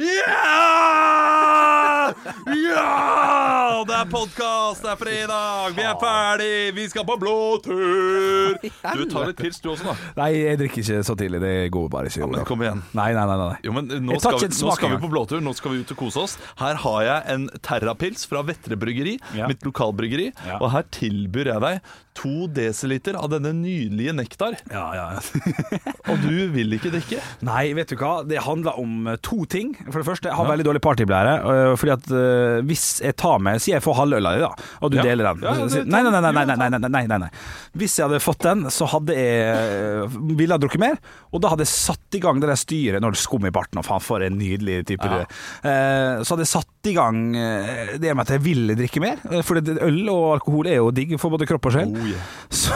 Ja! Ja! Det er podkast, det er fredag, vi er ferdig, vi skal på blåtur! Du tar litt pils du også, da. Nei, jeg drikker ikke så tidlig. Det går bare ikke. Men Olav. kom igjen. Nei, nei, nei. nei. Jo, men nå Jeg tar skal, vi, ikke en nå smak skal vi engang. på blåtur, nå skal vi ut og kose oss. Her har jeg en terrapils fra Vettre bryggeri, Ja. mitt lokalbryggeri. Ja. Og her tilbyr jeg deg to desiliter av denne nydelige nektar. Ja, ja, ja. Og du vil ikke drikke. nei, vet du hva? Det handler om eh, to ting. For det første, jeg har veldig dårlig partyblære. eh, Fordi at eh, hvis jeg tar med Si jeg får halve øla di, da, og du Ja. deler den. Ja, ja, det- nei, nei, nei, nei, nei, nei, nei, nei, nei, nei. Hvis jeg hadde fått den, så hadde jeg eh, ville ha drukket mer. Og da hadde jeg satt i gang det der styret når det skum i barten, og faen for en nydelig type Ja. du er. Eh, Så hadde jeg satt i gang eh, det med at jeg ville drikke mer. eh, For det- øl og alkohol er jo digg for både kropp og sjel. Oh, yeah. Så,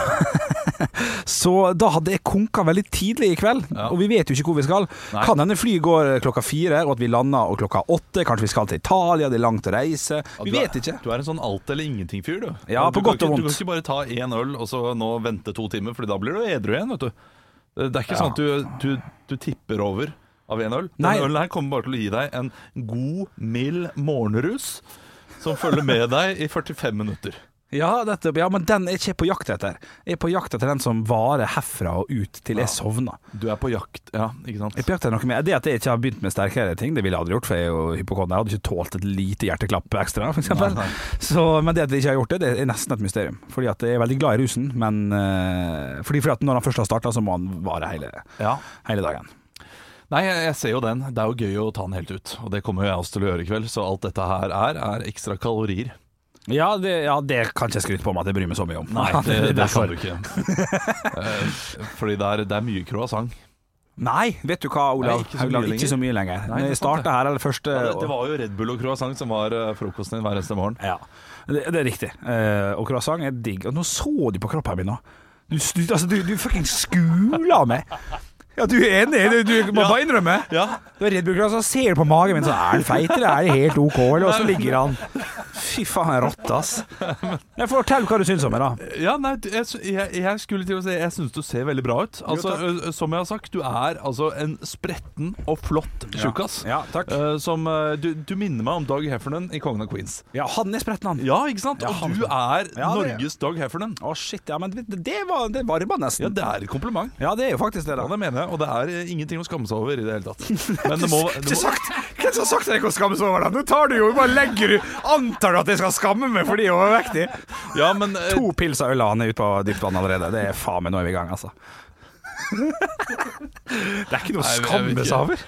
så da hadde jeg konka veldig tidlig i kveld, Ja. og vi vet jo ikke hvor vi skal. Nei. Kan hende flyet går eh, klokka fire, og at vi lander og klokka åtte. Kanskje vi skal til Italia, det er langt å reise. Ja, Vi du er- vet ikke. Du er en sånn alt eller ingenting-fyr, du. Ja, du på kan godt og ikke- Du vondt. kan ikke bare ta én øl og så nå vente to timer, Fordi da blir du edru igjen, vet du. Det er ikke Ja. sånn at du, du, du tipper over av én øl. Nei. Den ølen her kommer bare til å gi deg en god, mild morgenrus som følger med deg i 45 minutter. Ja, nettopp. Ja, men den er ikke jeg på jakt etter. Jeg er på jakt etter den som varer herfra og ut til jeg sovner. Du er på jakt, ja, ikke sant? Jeg er på jakt etter noe mer. Det at jeg ikke har begynt med sterkere ting, det ville jeg aldri gjort, for jeg er jo hypokonder. Jeg hadde ikke tålt et lite hjerteklapp ekstra, for eksempel. Så- Men det at jeg ikke har gjort det, det er nesten et mysterium. Fordi at jeg er veldig glad i rusen, men eh, fordi, fordi at når han først har starta, så må han vare hele, Ja. hele dagen. Nei, jeg, jeg ser jo den. Det er jo gøy å ta den helt ut. Og det kommer jo jeg også til å gjøre i kveld. Så alt dette her er, er ekstra kalorier. Ja det, ja, det kan ikke jeg skryte på meg at jeg bryr meg så mye om. Nei, det, er det kan derfor. du ikke. Eh, Fordi det er, det er mye croissant. Nei, vet du hva, Olav Nei, ikke så mye Haugland. Ikke så lenger. mye lenger. Nei, Når det jeg er sant, starta her, eller første Ja, det, det var jo Red Bull og croissant som var eh, frokosten din hver eneste morgen. Ja, det, det er riktig. Eh, og croissant er digg. Og nå så du på kroppen min nå. Du, du, altså, du, du fucking skuler meg. Ja, du er enig, du, du må bare innrømme. Ja. Du er redd for croissant, så ser du på magen min, så er han feit, eller er det helt OK, eller og så ligger han Fy faen, rotte, ass. Jeg får fortell hva du syns om meg, da. Ja, nei, du- jeg, sy- jeg, jeg skulle til å si Jeg syns du ser veldig bra ut. Altså, ø- ø, som jeg har sagt, du er altså en spretten og flott tjukkas. Ja, takk. Eh, som eh, du, du minner meg om Dag Heffernan i Kongen av Queens. Ja, han er spretten, han. Ja, ikke sant? Ja, Og han- du er Ja, det- Norges Dag Heffernan. Å, shit. Ja, men det, det var det varma Ja, nesten. det er et kompliment. Ja, det er jo faktisk det, Ja, da. det mener jeg, og det er eh, ingenting å skamme seg over i det hele tatt. Men det må, det må Hvem som har sagt at jeg kan skamme meg over det? Nå tar du jo bare legger du Antar du at jeg skal skamme meg fordi jeg er overvektig? Ja, men eh, To pils av øl og han er ute på dypt vann allerede. Det er faen meg nå er vi i gang, altså. Det er ikke noe å Nei, jeg vet skamme seg ikke. over.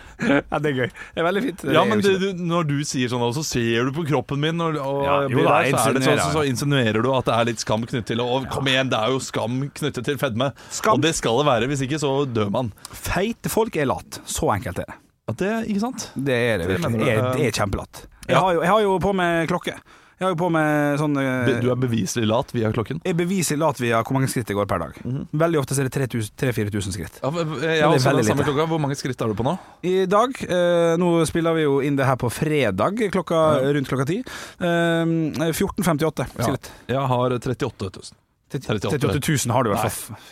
Ja, det er gøy. Det er veldig fint. Det Ja, er men jo ikke det, du, når du sier sånn, og så ser du på kroppen min, og, og Ja, jeg jo blir da, der, så, er det sånn, insinuerer, så, så insinuerer du at det er litt skam knyttet til det. Og kom igjen, det er jo skam knyttet til fedme. Skam. Og det skal det være, hvis ikke så dør man. Feite folk er lat. Så enkelt er det. Ja, det, ikke sant? Det er det Det mener du, virkelig. Det er, eh, det er kjempelatt. Jeg ja. har, jo, jeg har jo på meg klokke. Jeg har jo på meg sånn eh, Du er beviselig lat via klokken. Jeg beviser lat via hvor mange skritt jeg går per dag. Mhm. Veldig ofte så er det 3000-4000 skritt. Ja, eh, jeg er har også veldig den samme lite. klokka. Hvor mange skritt er du på nå? I dag, eh, nå spiller vi jo inn det her på fredag klokka, rundt klokka ti. Eh, 14.58 skritt. Jeg har 38 000. 38 38 000 har du i hvert fall.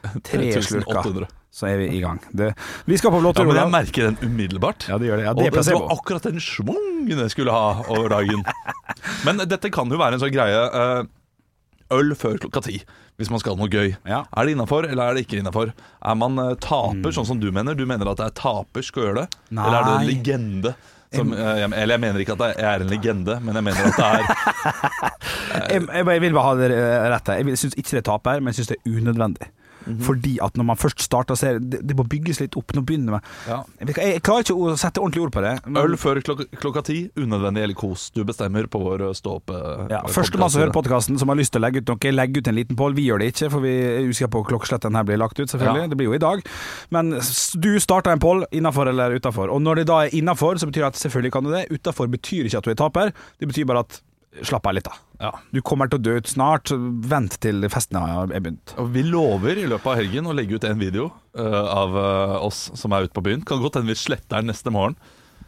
Tre 3800. slurker, så er vi i gang. Det, vi skal på blåtur, Ja, men jeg Olav. merker den umiddelbart. Ja, det gjør det. Ja, Og det er det var placebo. akkurat den schwungen jeg skulle ha over dagen. Men dette kan jo være en sånn greie eh, Øl før klokka ti, hvis man skal noe gøy. Ja. Mm. Er det innafor, eller er det ikke innafor? Er man eh, taper, sånn som du mener? Du mener at det er taper skal gjøre det? Nei. Eller er det en legende? Som, eh, jeg, eller jeg mener ikke at jeg er en legende, men jeg mener at det er Jeg, jeg, jeg vil bare ha det eh, rett her. Jeg syns ikke det er taper, men jeg syns det er unødvendig. Mhm. Fordi at når man først starter, så er det, det må bygges litt opp. Nå begynner man Ja. jeg, vet ikke, jeg klarer ikke å sette ordentlig ord på det. men- øl før klok klokka ti, unødvendig eller kos. Du bestemmer på vår eh, stå-opp. eh, Ja, podcast. Førstemann som hører podkasten som har lyst til å legge ut noe, legg ut en liten poll. Vi gjør det ikke, for vi er usikre på klokkslett den her blir lagt ut, selvfølgelig. Ja. Det blir jo i dag. Men s- du starter en poll innafor eller utafor. Og når det da er innafor, så betyr det at selvfølgelig kan du det. Utafor betyr ikke at du er taper, det betyr bare at slapp av litt, da. Ja. Du kommer til å dø ut snart, så vent til festen har er begynt. Og Vi lover i løpet av helgen å legge ut en video eh, av eh, oss som er ute på byen. Kan godt hende vi sletter den neste morgen,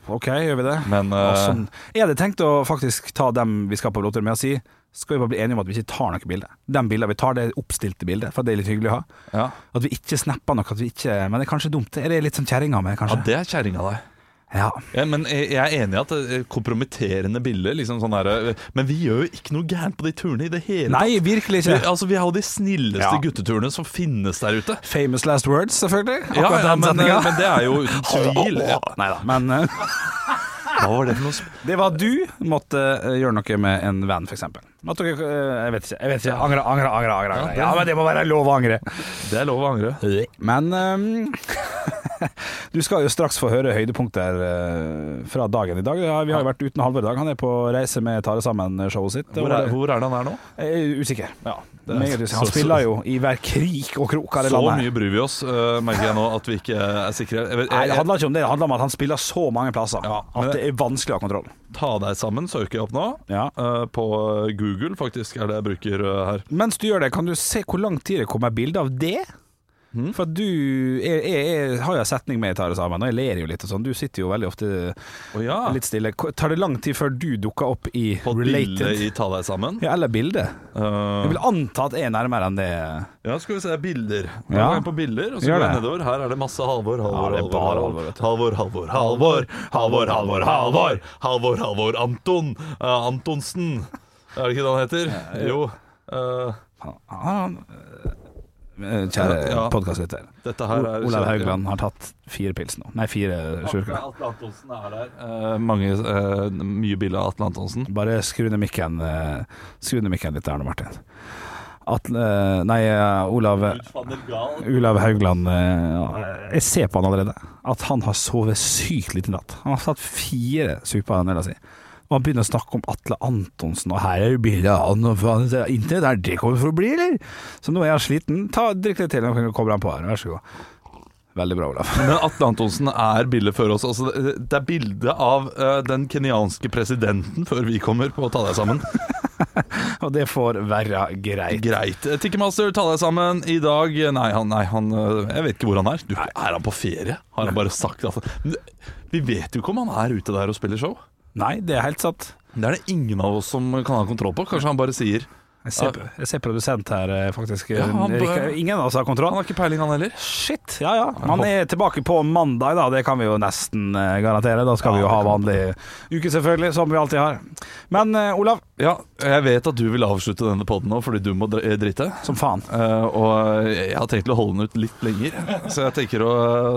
OK, gjør vi det? men eh, Og sånn. Jeg hadde tenkt å faktisk ta dem vi skal på blåtur med, og si skal vi bare bli enige om at vi ikke tar noe bilde. De bildene vi tar, det er oppstilte bilder, for det er litt hyggelig å ha. Ja, At vi ikke snapper noe, at vi ikke Men det er kanskje dumt. Er det litt sånn kjerringa mi, ja kanskje? det er kjerringa deg. Ja. Ja, men jeg jeg er enig i at eh, kompromitterende bilder liksom sånn der, eh, Men vi gjør jo ikke noe gærent på de turene i det hele tatt. Nei, virkelig Vi, ikke. altså, vi har jo de snilleste Ja. gutteturene som finnes der ute. Famous last words, selvfølgelig. Ja, Akkurat ja den men, eh, setninga. men det er jo uten tvil. Ja. Neida, Men eh, Hva var det for noe? sp- det var du måtte eh, gjøre noe med en venn, f.eks. At dere eh, Jeg vet ikke. jeg vet ikke Angre, angre, angre. angre, angre. Ja, men det må være lov å angre. Det er lov å angre. Men ehm, du skal jo straks få høre høydepunkter eh, fra dagen i dag. Ja, vi har jo vært uten Halvor i dag. Han er på reise med Tare sammen-showet sitt. Hvor er, hvor er det han er nå? Jeg er usikker. det er- Meget usikker. så- Han så- spiller jo i hver krik og krok av det Så landet. her. mye bryr vi oss, eh, merker jeg nå, at vi ikke er sikre. Jeg, vet- Nei, det jeg, handler ikke om det. Det handler om at han spiller så mange plasser Ja, men- at det er vanskelig å ha kontroll. jeg, ta deg sammen søker jeg opp nå. Ja. Eh, på Google, faktisk, er det jeg bruker eh, her. Mens du gjør det, kan du se hvor lang tid det kommer bilde av det? Hmm? For at du jeg, jeg, jeg har jo en setning med i Tare sammen, og jeg ler jo litt og sånn. Du sitter jo veldig ofte Å ja. litt stille. Ko- Tar det lang tid før du dukker opp i På bildet related? i Ta deg sammen. Ja, eller bilde. Eh, Jeg vil anta at jeg er nærmere enn det. Ja, skal vi se bilder. Nå Ja. går jeg på bilder, og så går Gjør jeg det. nedover. Her er det masse Halvor, Halvor, Ja, det er bare Halvor, Halvor, vet Halvor, Halvor, Halvor, Halvor, Halvor, Halvor, Halvor, Halvor, Anton, eh, Antonsen. Er det ikke det han heter? Jo. eh, Han- han- ah, eh, Kjære Ja. podkastlytter. dette her er Olav Haugland har tatt fire pils nå. Nei, fire slurker. Atle Antonsen er der. Eh, mange, eh, mye bilder av Atle Antonsen. Bare skru ned mikken eh, Skru ned mikken litt der nå, Martin. Atle, eh, nei, eh, Olav Olav Haugland eh, Jeg ser på han allerede. At han har sovet sykt lite i natt. Han har tatt fire super av den øla si. Og han begynner å snakke om Atle Antonsen, og her er jo bildet av han og faen, det er Internett, er det kommet for å bli, eller? Så nå er han sliten. Ta, drikk litt til, nå kommer han på her. Vær så god. Veldig bra, Olav. Men Atle Antonsen er bildet før oss. Altså, det det er bilde av eh, den kenyanske presidenten før vi kommer på å ta deg sammen. Og det får være greit. Greit. Tickemaster, ta deg sammen. I dag Nei, han, nei, han øh, Jeg vet ikke hvor han er. Du, er han på ferie? Har han bare sagt at Men Vi vet jo ikke om han er ute der og spiller show. Nei, det er helt sant. Det er det ingen av oss som kan ha kontroll på. Kanskje han bare sier Jeg ser, jeg ser produsent her, eh, faktisk. Ja, han bør- Rikard. Ingen av oss har kontroll. Han har ikke peiling, han heller. Shit, ja ja. Man er tilbake på mandag, da. Det kan vi jo nesten eh, garantere. Da skal vi jo ha vanlig uke, selvfølgelig, som vi alltid har. Men eh, Olav, Ja, jeg vet at du vil avslutte denne poden nå fordi du må dr- eh, drite. som faen. Eh, og jeg har tenkt å holde den ut litt lenger, så jeg tenker å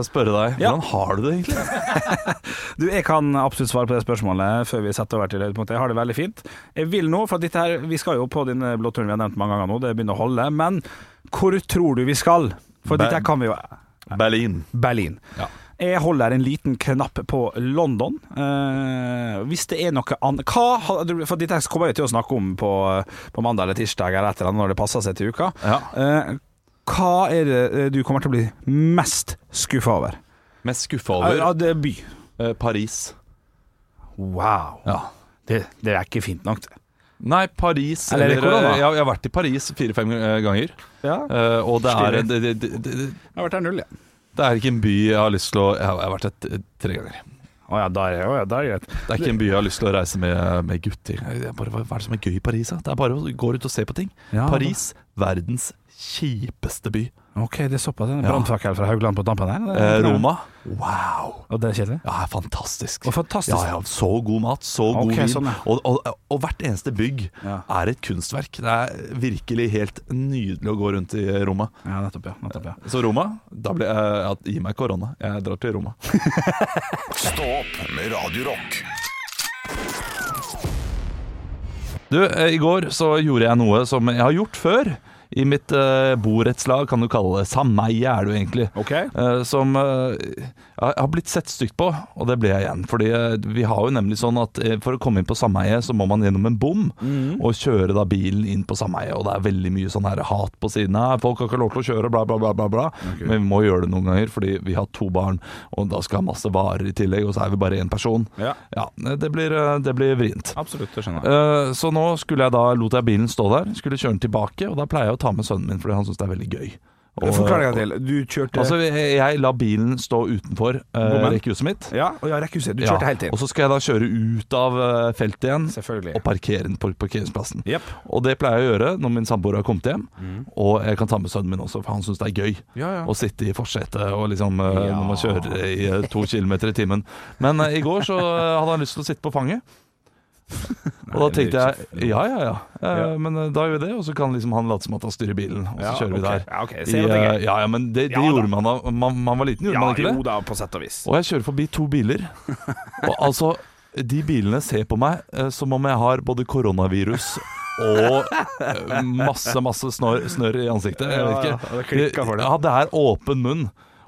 spørre deg Ja. Hvordan har du det egentlig? Du, jeg kan absolutt svare på det spørsmålet før vi setter over til høydepunktet. Jeg har det veldig fint. Jeg vil nå, for at dette her Vi skal jo på din blå turen vi har nevnt mange ganger nå, det begynner å holde. Men hvor tror du vi skal? For Ber- dette her kan vi jo Berlin. Berlin. Ja. Jeg holder en liten knapp på London. Eh, hvis det er noe annet Hva har du- For dette kommer jeg til å snakke om på, på mandag eller tirsdag eller et eller annet når det passer seg til uka. Ja. Eh, hva er det eh, du kommer til å bli mest skuffa over? Mest skuffa Av over av det by. eh, Paris. Wow. Ja. Det, det er ikke fint nok, det. Nei, Paris Eller korona. eh, jeg, jeg har vært i Paris fire-fem eh, ganger. eh, og det er, det, det, det, det, Jeg har vært der null, jeg. det er ikke en by jeg har lyst til å Jeg har, jeg har vært der t- tre ganger. Å ja, da er det- å ja, da er det greit. Det er ikke en by jeg har lyst til å reise med, med gutter. Jeg bare, hva hva er det som er gøy i Paris? Da? Det er bare å gå ut og se på ting. Ja, Paris, verdens kjipeste by. Ok, det er såpass. En Ja. brannfakkel fra Haugland på tampen her. Det Eh, er bra. Roma, wow! Og det er kjedelig? Ja, er fantastisk. Og fantastisk. Ja, ja, så god mat, så god Ok, vin. sånn, ja. og, og, og hvert eneste bygg Ja. er et kunstverk. Det er virkelig helt nydelig å gå rundt i Roma. Ja, nettopp, ja. Nettopp, ja. Så Roma, da blir jeg ja, Gi meg korona. Jeg drar til Roma. Stå opp med Radio Rock. Du, eh, i går så gjorde jeg noe som jeg har gjort før. I mitt eh, borettslag, kan du kalle det. Sameie er det jo egentlig. Ok. Eh, som eh, ja, jeg har blitt sett stygt på, og det ble jeg igjen. Fordi eh, vi har jo nemlig sånn at eh, for å komme inn på sameie, så må man gjennom en bom. Og kjøre da bilen inn på sameie, og det er veldig mye sånn her hat på siden. Nei, folk har ikke lov til å kjøre, bla, bla, bla. bla, bla. Men vi må gjøre det noen ganger, fordi vi har to barn, og da skal ha masse varer i tillegg, og så er vi bare én person. Ja. det blir, eh, det blir vrient. Absolutt, det skjønner jeg. Eh, Så nå skulle jeg da lot jeg bilen stå der, skulle kjøre den tilbake, og da pleier jeg å ta med sønnen min fordi han syns det er veldig gøy. Forklar en gang til. Du kjørte Altså, jeg, jeg la bilen stå utenfor eh, Bommen. rekkehuset mitt. Ja, og ja, rekkhuset. Du kjørte Ja, helt inn. Og så skal jeg da kjøre ut av eh, feltet igjen Selvfølgelig. og parkere den på parkeringsplassen. Jepp. Og det pleier jeg å gjøre når min samboer har kommet hjem. Mm. Og jeg kan ta med sønnen min også, for han syns det er gøy Ja, ja. å sitte i forsetet og liksom, eh, Ja. når man kjører i eh, to kilometer i timen. Men eh, i går så eh, hadde han lyst til å sitte på fanget. Og da Nei, det er tenkte jo jeg ja, ja, ja. Eh, Ja. Men eh, da gjør vi det, og så kan liksom han late som at han styrer bilen, og så Ja, kjører vi ok. der. Ja, ok. I, Se hva det eh, er. ja, ja, men det, det Ja, da. gjorde man da man, man var liten, gjorde Ja, man ikke det? jo da, på sett og vis. Og jeg kjører forbi to biler. Og altså, de bilene ser på meg eh, som om jeg har både koronavirus og eh, masse, masse snørr, snørr i ansiktet. Jeg Ja, vet ja, ikke. det klikket for deg. Ja, det er åpen munn.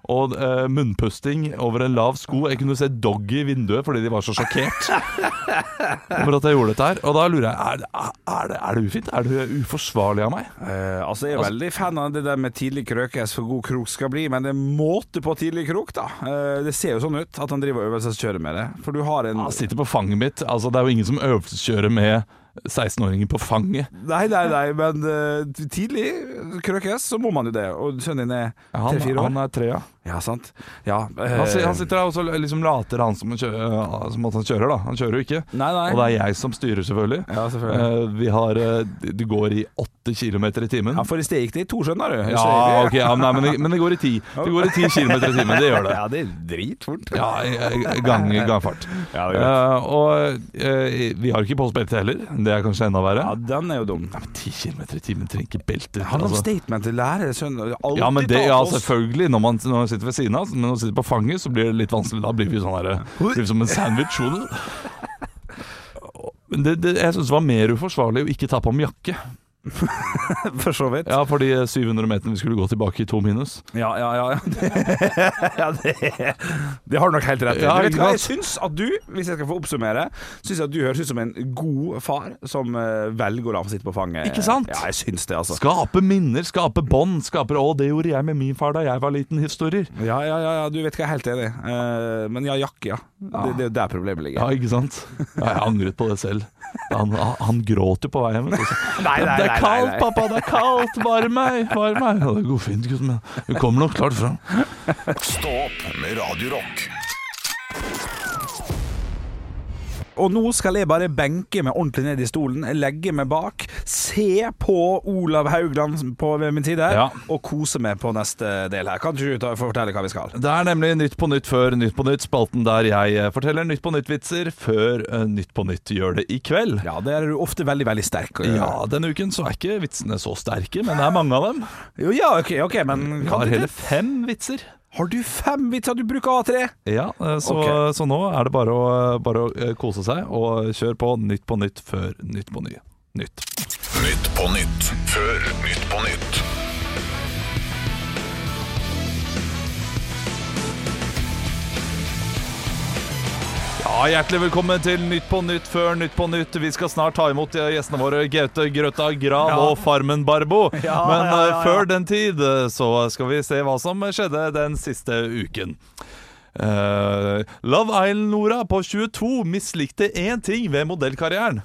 Og eh, munnpusting over en lav sko. Jeg kunne se doggy i vinduet fordi de var så sjokkert over at jeg gjorde dette her. Og da lurer jeg er, det- er, det, er det ufint? Er det uforsvarlig av meg? Eh, altså Jeg er Altså- veldig fan av det der med tidlig krøkes for god krok skal bli, men det er måte på tidlig krok, da. Eh, det ser jo sånn ut at han driver og øvelseskjører med det. For du har en Han sitter på fanget mitt. Altså, det er jo ingen som øvelseskjører med 16-åringer på fanget. Nei, nei, nei, men eh, tidlig krøkes, så må man jo det. Og sønnen din er Han, tre-fire år. han er tre, ja. Ja, sant. Ja, Han, si- eh, han sitter der og så liksom later han som, han kjører, som at han kjører, da. Han kjører jo ikke. Nei, nei. Og det er jeg som styrer, selvfølgelig. Ja, selvfølgelig. Eh, vi har eh, Du går i 8 km i timen. Ja, for i sted gikk det i to, skjønner du. Ja, ok, ja, nei, men, det, men det går i 10 Det går i 10 km i timen. Det gjør det. Ja, det er dritfort. Ja, i- i gang, gangfart. Ja, det er Eh, og eh, vi har ikke på oss belte heller. Det er kanskje enda verre. Ja, den er jo dum. Ja, men 10 km i timen trenger ikke belte. Han har altså. statement til lærer, sønn. Alltid Ja, men det, altså ta ja, på oss. selvfølgelig, når man, når man sitter ved siden av Men når man sitter på fanget, så blir det litt vanskelig Da blir vi sånn her, blir vi som en sandwich hodet. Men det, det, jeg synes det var mer uforsvarlig Å ikke ta på meg jakke For så vidt. Ja, for de 700 meterne vi skulle gå tilbake i to minus Ja, ja, ja. Det, ja, det, det har du nok helt rett i. Ja, Du vet ikke hva, sant? jeg syns at du, hvis jeg skal få oppsummere, syns jeg at du høres ut som en god far som eh, velger å la ham sitte på fanget. Ikke sant? Ja, jeg syns det, altså. Skape minner, skape bånd Skaper, å det gjorde jeg med min far da jeg var liten historier Ja, ja, ja, ja, du vet hva, jeg er helt enig. Eh, men ja, jakke, ja. Det, det er jo der problemet Ah. ligger. Ja, ikke sant? Ja, jeg angret på det selv Han, han gråter på vei hjem vet du. Nei, nei, Det er nei, kaldt, nei, nei. pappa, det er kaldt Varm meg, varm meg Ja, det går fint, gutten min Du kommer nok klart frem Stå opp med Radio Rock. Og nå skal jeg bare benke meg ordentlig ned i stolen, legge meg bak, se på Olav Haugland på ved min tid her, Ja. og kose meg på neste del her. Kan ikke du ta, fortelle hva vi skal? Det er nemlig Nytt på nytt før Nytt på nytt, spalten der jeg eh, forteller Nytt på nytt-vitser før eh, Nytt på nytt gjør det i kveld. Ja, der er du ofte veldig, veldig sterk. Ja, denne uken så er ikke vitsene så sterke, men det er mange av dem. Jo, ja, ok, ok, men Vi kan har du hele det? fem vitser. Har du fem vitser? Du bruker A3? Ja, eh, så, Ok. så nå er det bare å, bare å eh, kose seg og kjør på Nytt på nytt før Nytt på ny. Nytt. Nytt på nytt før Nytt på nytt. Ja, Hjertelig velkommen til Nytt på nytt før Nytt på nytt. Vi skal snart ta imot eh, gjestene våre Gaute Grøtta Grav Ja. og Farmen Barbo. Ja, Men ja, eh, ja, ja. før den tid eh, så skal vi se hva som skjedde den siste uken. Eh, Love Island-Nora på 22 mislikte én ting ved modellkarrieren.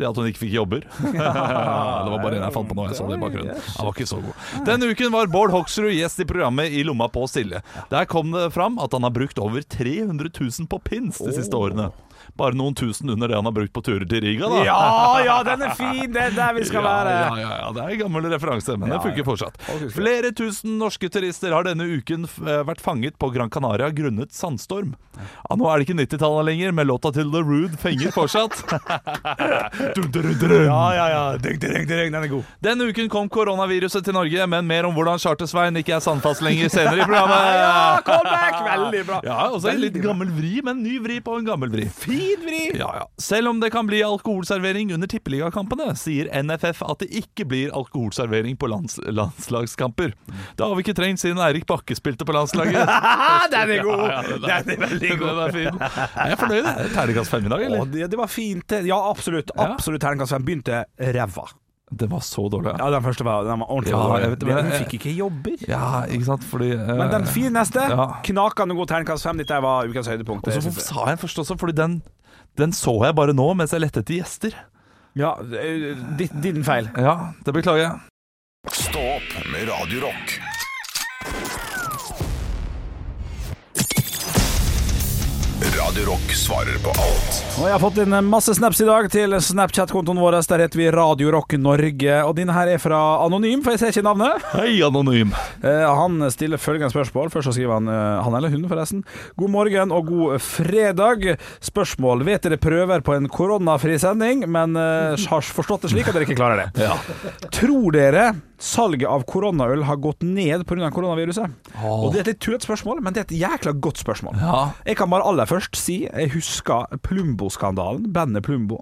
Det at hun ikke fikk jobber. det var bare en jeg fant på nå. Jeg så det i bakgrunnen. Den var ikke så god. Denne uken var Bård Hoksrud gjest i programmet I lomma på Silje. Der kom det fram at han har brukt over 300 000 på pins de siste årene. Bare noen tusen under det han har brukt på turer til Riga, da. Ja, ja, den er fin! Det er der vi skal Ja, være. ja, ja, ja, det er en gammel referanse, men det funker fortsatt. Flere tusen norske turister har denne uken f- eh, vært fanget på Gran Canaria grunnet sandstorm. Ja, nå er det ikke 90-tallet lenger, men låta til The Rude fenger fortsatt. Dum, dum, dum, dum. Ja, ja, ja. Ding, ding, ding, den er god. Denne uken kom koronaviruset til Norge, men mer om hvordan Charter-Svein ikke er sandfast lenger senere i programmet. Ja, comeback! Veldig bra. Ja, også en litt gammel vri, men ny vri på en gammel vri. Fin vri! Ja, ja. Selv om det kan bli alkoholservering under tippeligakampene, sier NFF at det ikke blir alkoholservering på lands landslagskamper. Det har vi ikke trengt siden Eirik Bakke spilte på landslaget. Ah, den er god! ja, den er- Den er veldig god. Den er fin. Er jeg fornøyd? jeg. Terningkast fem i dag, Å, eller? det, det var fint. det. Ja, absolutt. Ja. Absolutt Terningkast 5. Begynte ræva. Det var så dårlig. ja. Ja, den første var, den var ordentlig Ja, dårlig. jeg vet det, men- Hun fikk ikke jobber. Ja, ikke sant? Fordi eh, Men den fine neste, Ja. knakende god terningkast 5. Dette var ukas høydepunkt. Og så det synes hvorfor jeg. sa jeg den først også? Fordi den, den så jeg bare nå mens jeg lette etter gjester. Ja, eh, ditt- din feil. Ja, det beklager jeg. Stå opp med Radio Rock. Radio Rock svarer på alt. Og jeg har fått inn masse snaps i dag til Snapchat-kontoen vår. Der heter vi Radio Rock Norge. Og denne her er fra Anonym, for jeg ser ikke navnet. Hei, anonym! Eh, han stiller følgende spørsmål. Først så skriver han eh, Han eller hun, forresten. God morgen og god fredag. Spørsmål. Vet dere prøver på en koronafri sending, men eh, har forstått det slik at dere ikke klarer det. Tror dere salget av koronaøl har gått ned pga. koronaviruset? Åh. Og Det er et litt tullete spørsmål, men det er et jækla godt spørsmål. Ja. Jeg kan bare aller først si Jeg husker Plumbo-skandalen, bandet Plumbo,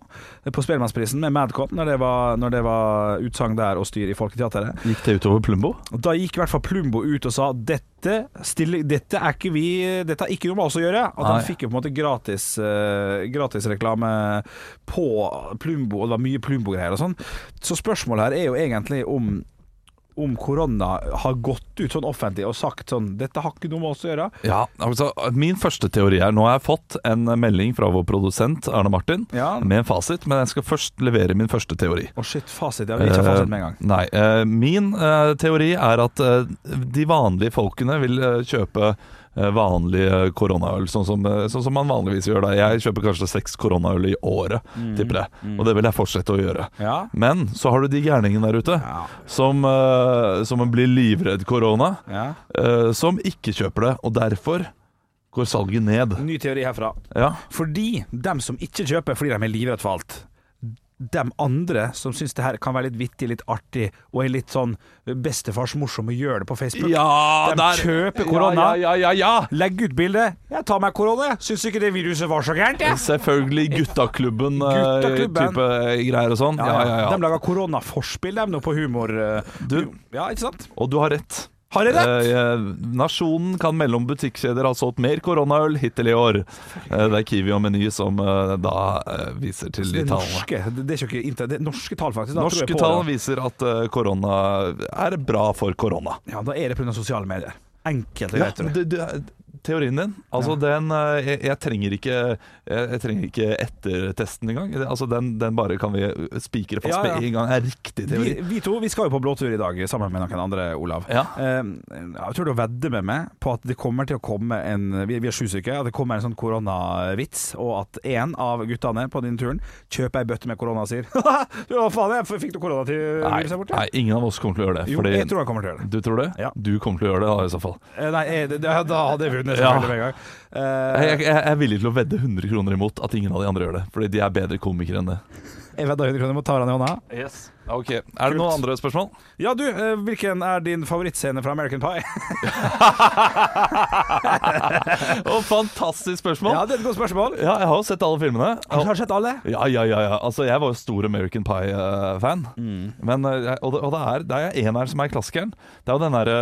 på Spellemannsprisen med Madcon, når det var, når det var utsagn der og styr i Folketeatret. Gikk det utover Plumbo? Da gikk i hvert fall Plumbo ut og sa dette, stille, dette er ikke vi Dette har ikke noe med oss å gjøre. At han Nei. fikk jo på en måte gratis eh, gratisreklame på Plumbo, og det var mye Plumbo-greier og sånn. Så spørsmålet her er jo egentlig om om korona har gått ut sånn offentlig og sagt sånn Dette har ikke noe med oss å gjøre. Ja, altså Min første teori er Nå har jeg fått en melding fra vår produsent Arne Martin Ja. med en fasit, men jeg skal først levere min første teori. Å shit, fasit. Jeg vil ikke ha fasit med en gang. Eh, Nei. eh, min eh, teori er at eh, de vanlige folkene vil eh, kjøpe eh, vanlig eh, koronaøl, sånn som, eh, sånn som man vanligvis gjør. Da. Jeg kjøper kanskje seks koronaøl i året, tipper jeg. Og det vil jeg fortsette å gjøre. Mm, Ja. Men så har du de gærningene der ute Ja. som, eh, som blir livredd korona, Ja. eh, som ikke kjøper det. Og derfor går salget ned. Ny teori herfra. Ja. Fordi dem som ikke kjøper fordi de er livredde for alt, dem andre som syns det her kan være litt vittig, litt artig og er litt sånn bestefars morsom og gjør det på Facebook, Ja, De kjøper korona. Ja, ja, ja, ja, legg ut bilde. 'Jeg tar meg korona, jeg. Syns ikke det viruset var så gærent', ja. jeg. Selvfølgelig Guttaklubben. guttaklubben-type greier og sånn. Ja, ja, ja, De lager koronaforspill, dem nå, på humor... eh, Du- Ja, ikke sant? Og du har rett. Har jeg rett? Eh, eh, nasjonen kan melde om butikkjeder har solgt mer koronaøl hittil i år. Eh, det er Kiwi og Meny som eh, da eh, viser til de det er tallene. norske, det er ikke inter... det er norske tall, faktisk. Da tror jeg Norske på tall det. viser at eh, korona er bra for korona. Ja, da er det pga. sosiale medier. Enkelt og Ja, greit. tror jeg. du- du- teorien din altså den, eh, jeg, jeg trenger ikke Jeg, jeg trenger ikke ettertesten engang. Altså den, den bare kan vi spikre fast Ja, ja. med en gang. Er riktig teori. Vi, vi to vi skal jo på blåtur i dag sammen med noen andre, Olav. Ja. Eh, jeg tror du vedder med meg på at det kommer til å komme en Vi, vi er sju stykker. At det kommer en sånn koronavits, og at én av guttene på den turen kjøper ei bøtte med korona og sier Hva faen, jeg f- fikk du korona til Nei, viruset borte? nei, ingen av oss kommer til å gjøre det. Jo, fordi- jeg tror han kommer til å gjøre det. Du tror det? Ja. Du kommer til å gjøre det da, i så fall. Eh, Nei, jeg, det, da hadde jeg vunnet Ja. selvfølgelig med en gang. Eh, Jeg, jeg, jeg er villig til å vedde 100 kroner imot at ingen av de andre gjør det. Fordi de er bedre komikere enn det. jeg vedder 100 kroner mot Taran i hånda. Ok, Er det noen andre spørsmål? Ja, du, eh, hvilken er din favorittscene fra American Pie? Å, fantastisk ja, spørsmål! Ja. det er et godt spørsmål. jeg har jo sett alle filmene. Har du sett alle? Ja, ja, ja, ja. Altså, jeg var jo stor American Pie-fan. Mm. Men, eh, og det, og det, er, det er en her som er klassikeren. Det er jo den derre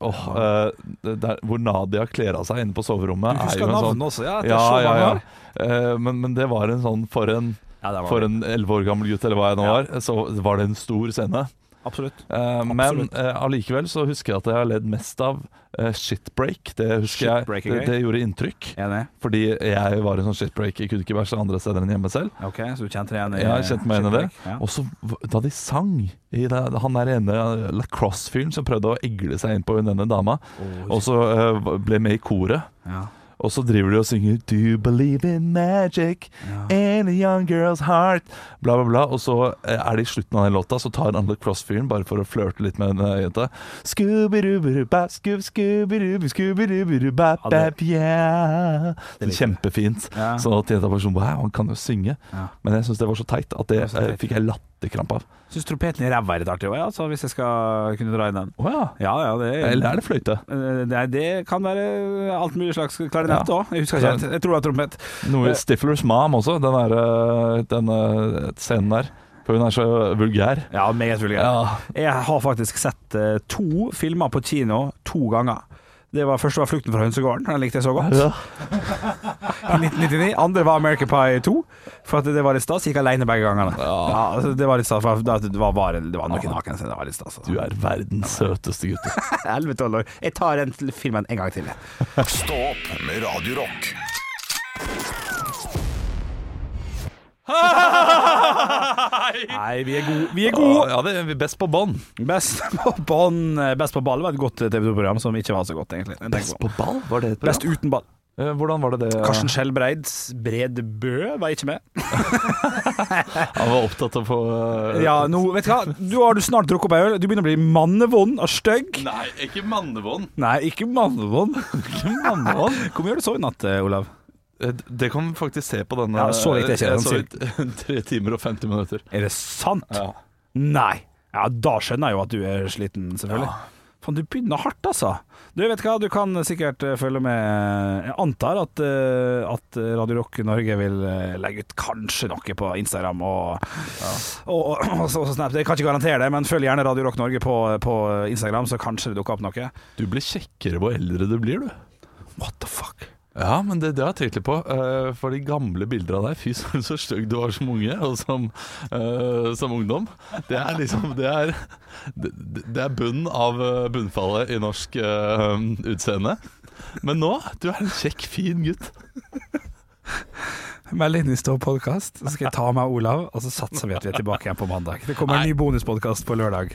Åh, eh, det der, Hvor Nadia kler av seg inne på soverommet. Du er husker jo en navnet sånn- også? Ja, det er Ja, så ja, mange ja. år. Eh, men, men det var en sånn for en Ja, det var For det. en elleve år gammel gutt, eller hva jeg nå var, så var det en stor scene. Absolutt. Eh, men Absolutt. eh, allikevel så husker jeg at jeg har ledd mest av eh, shitbreak. Det husker jeg Shitbreak det, er gøy. det gjorde inntrykk. Enig? Fordi jeg var en sånn shitbreak. Jeg kunne ikke bæsje andre steder enn hjemme selv. Ok, så du kjente deg igjen i Jeg har kjent meg inn i det. Ja. Og så v- da de sang i det, Han der ene eh, lacrosse-fyren som prøvde å egle seg inn på hun ene dama, og så eh, ble med i koret. Ja. Og så driver de og synger Do you believe in magic in a young girl's heart Bla, bla, bla. Og så eh, er det i slutten av den låta, så tar han lacrosse-fyren bare for å flørte litt med en eh, jente. Scooby-dooby-dooba, scoob, scooby-dooby, scooby-dooby-dooba, Ja, det- bap, yeah. Det er kjempefint. Ja. Sånn at jenta bare sånn Wow, han kan jo synge. Ja. Men jeg syns det var så teit at det Det var så eh, teit. fikk jeg latterkrampe av. Syns trompeten i ræva er litt artig òg, ja, så hvis jeg skal kunne dra inn den. Å ja. Ja ja, det Eller er det fløyte? Eh, Nei, det kan være alt mulig slags klarinett Ja. òg. Jeg husker ikke helt. Jeg tror det var trompet. Noe Stiflers Mom også, den, der, eh, den eh, scenen der. For hun er så vulgær. Ja, meget vulgær. Ja. Jeg har faktisk sett eh, to filmer på kino to ganger. Det var Første var 'Flukten fra hønsegården', den likte jeg så godt. Ja. I 1999. Andre var American Pie 2. For at det var litt stas. Gikk alene begge gangene. Ja. altså, det var litt stas. For at det var, var, det var noen naken, så det var litt stas. altså. Du er verdens søteste gutt. 11-12 år. Jeg tar den til- filmen en gang til. jeg. Stå opp med Radio Rock. Nei, vi er gode. Vi er God. gode. Ja, det er best på bånd. Best på bånn. Best på ball var et godt TV 2-program som ikke var så godt, egentlig. Tenk på. ball? Var det et Best uten ball. Eh, Hvordan var det det Karsten Schjell Breid Bred Bø var ikke med. Han var opptatt av å få eh, Ja, nå, vet du hva? Du har du snart drukket opp ei øl. Du begynner å bli mannevond og stygg. Nei, ikke mannevånd. Nei, ikke mannevond. Hvor mye har du sovet i natt, eh, Olav? Eh, d- Det kan vi faktisk se på denne. Ja, så vidt er ikke det, jeg han så vidt tre timer og 50 minutter. Er det sant? Nei. Ja, da skjønner jeg jo at du er sliten, selvfølgelig. Faen, du begynner hardt, altså. Du vet hva, du kan sikkert eh, følge med Jeg antar at, eh, at Radio Rock Norge vil eh, legge ut kanskje noe på Instagram og, og, og, og, så- og så Snap. Jeg kan ikke garantere det, men følg gjerne Radio Rock Norge på, på Instagram, så kanskje det dukker opp noe. Du blir kjekkere hvor eldre du blir, du. What the fuck? Ja, men det, det har jeg tenkt litt på. eh, for de gamle bilder av deg Fy søren, så stygg du var som unge, og som, eh, som ungdom. Det er liksom Det er, det, det er bunnen av eh, bunnfallet i norsk eh, utseende. Men nå, du er en kjekk, fin gutt. Meld inn i Stå podkast, så skal jeg ta meg Olav, og så satser vi at vi er tilbake igjen på mandag. Det kommer en ny bonuspodkast på lørdag.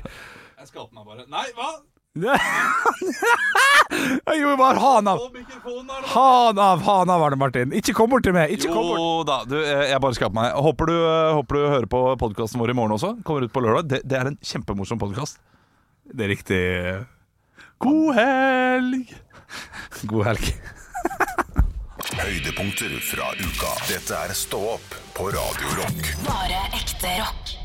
Jeg skal åpne bare Nei, hva? Jeg gjorde bare han av. mikrofonen er Han av, han av, Arne Martin. Ikke kom bort til meg. Ikke kom bort. Jo da, du, eh, jeg bare skaper meg. Håper du, eh, håper du hører på podkasten vår i morgen også. Kommer ut på lørdag. Det, det er en kjempemorsom podkast. Det er riktig. God helg! God helg. Høydepunkter fra uka. Dette er Stå opp på Radio Rock. Bare ekte rock.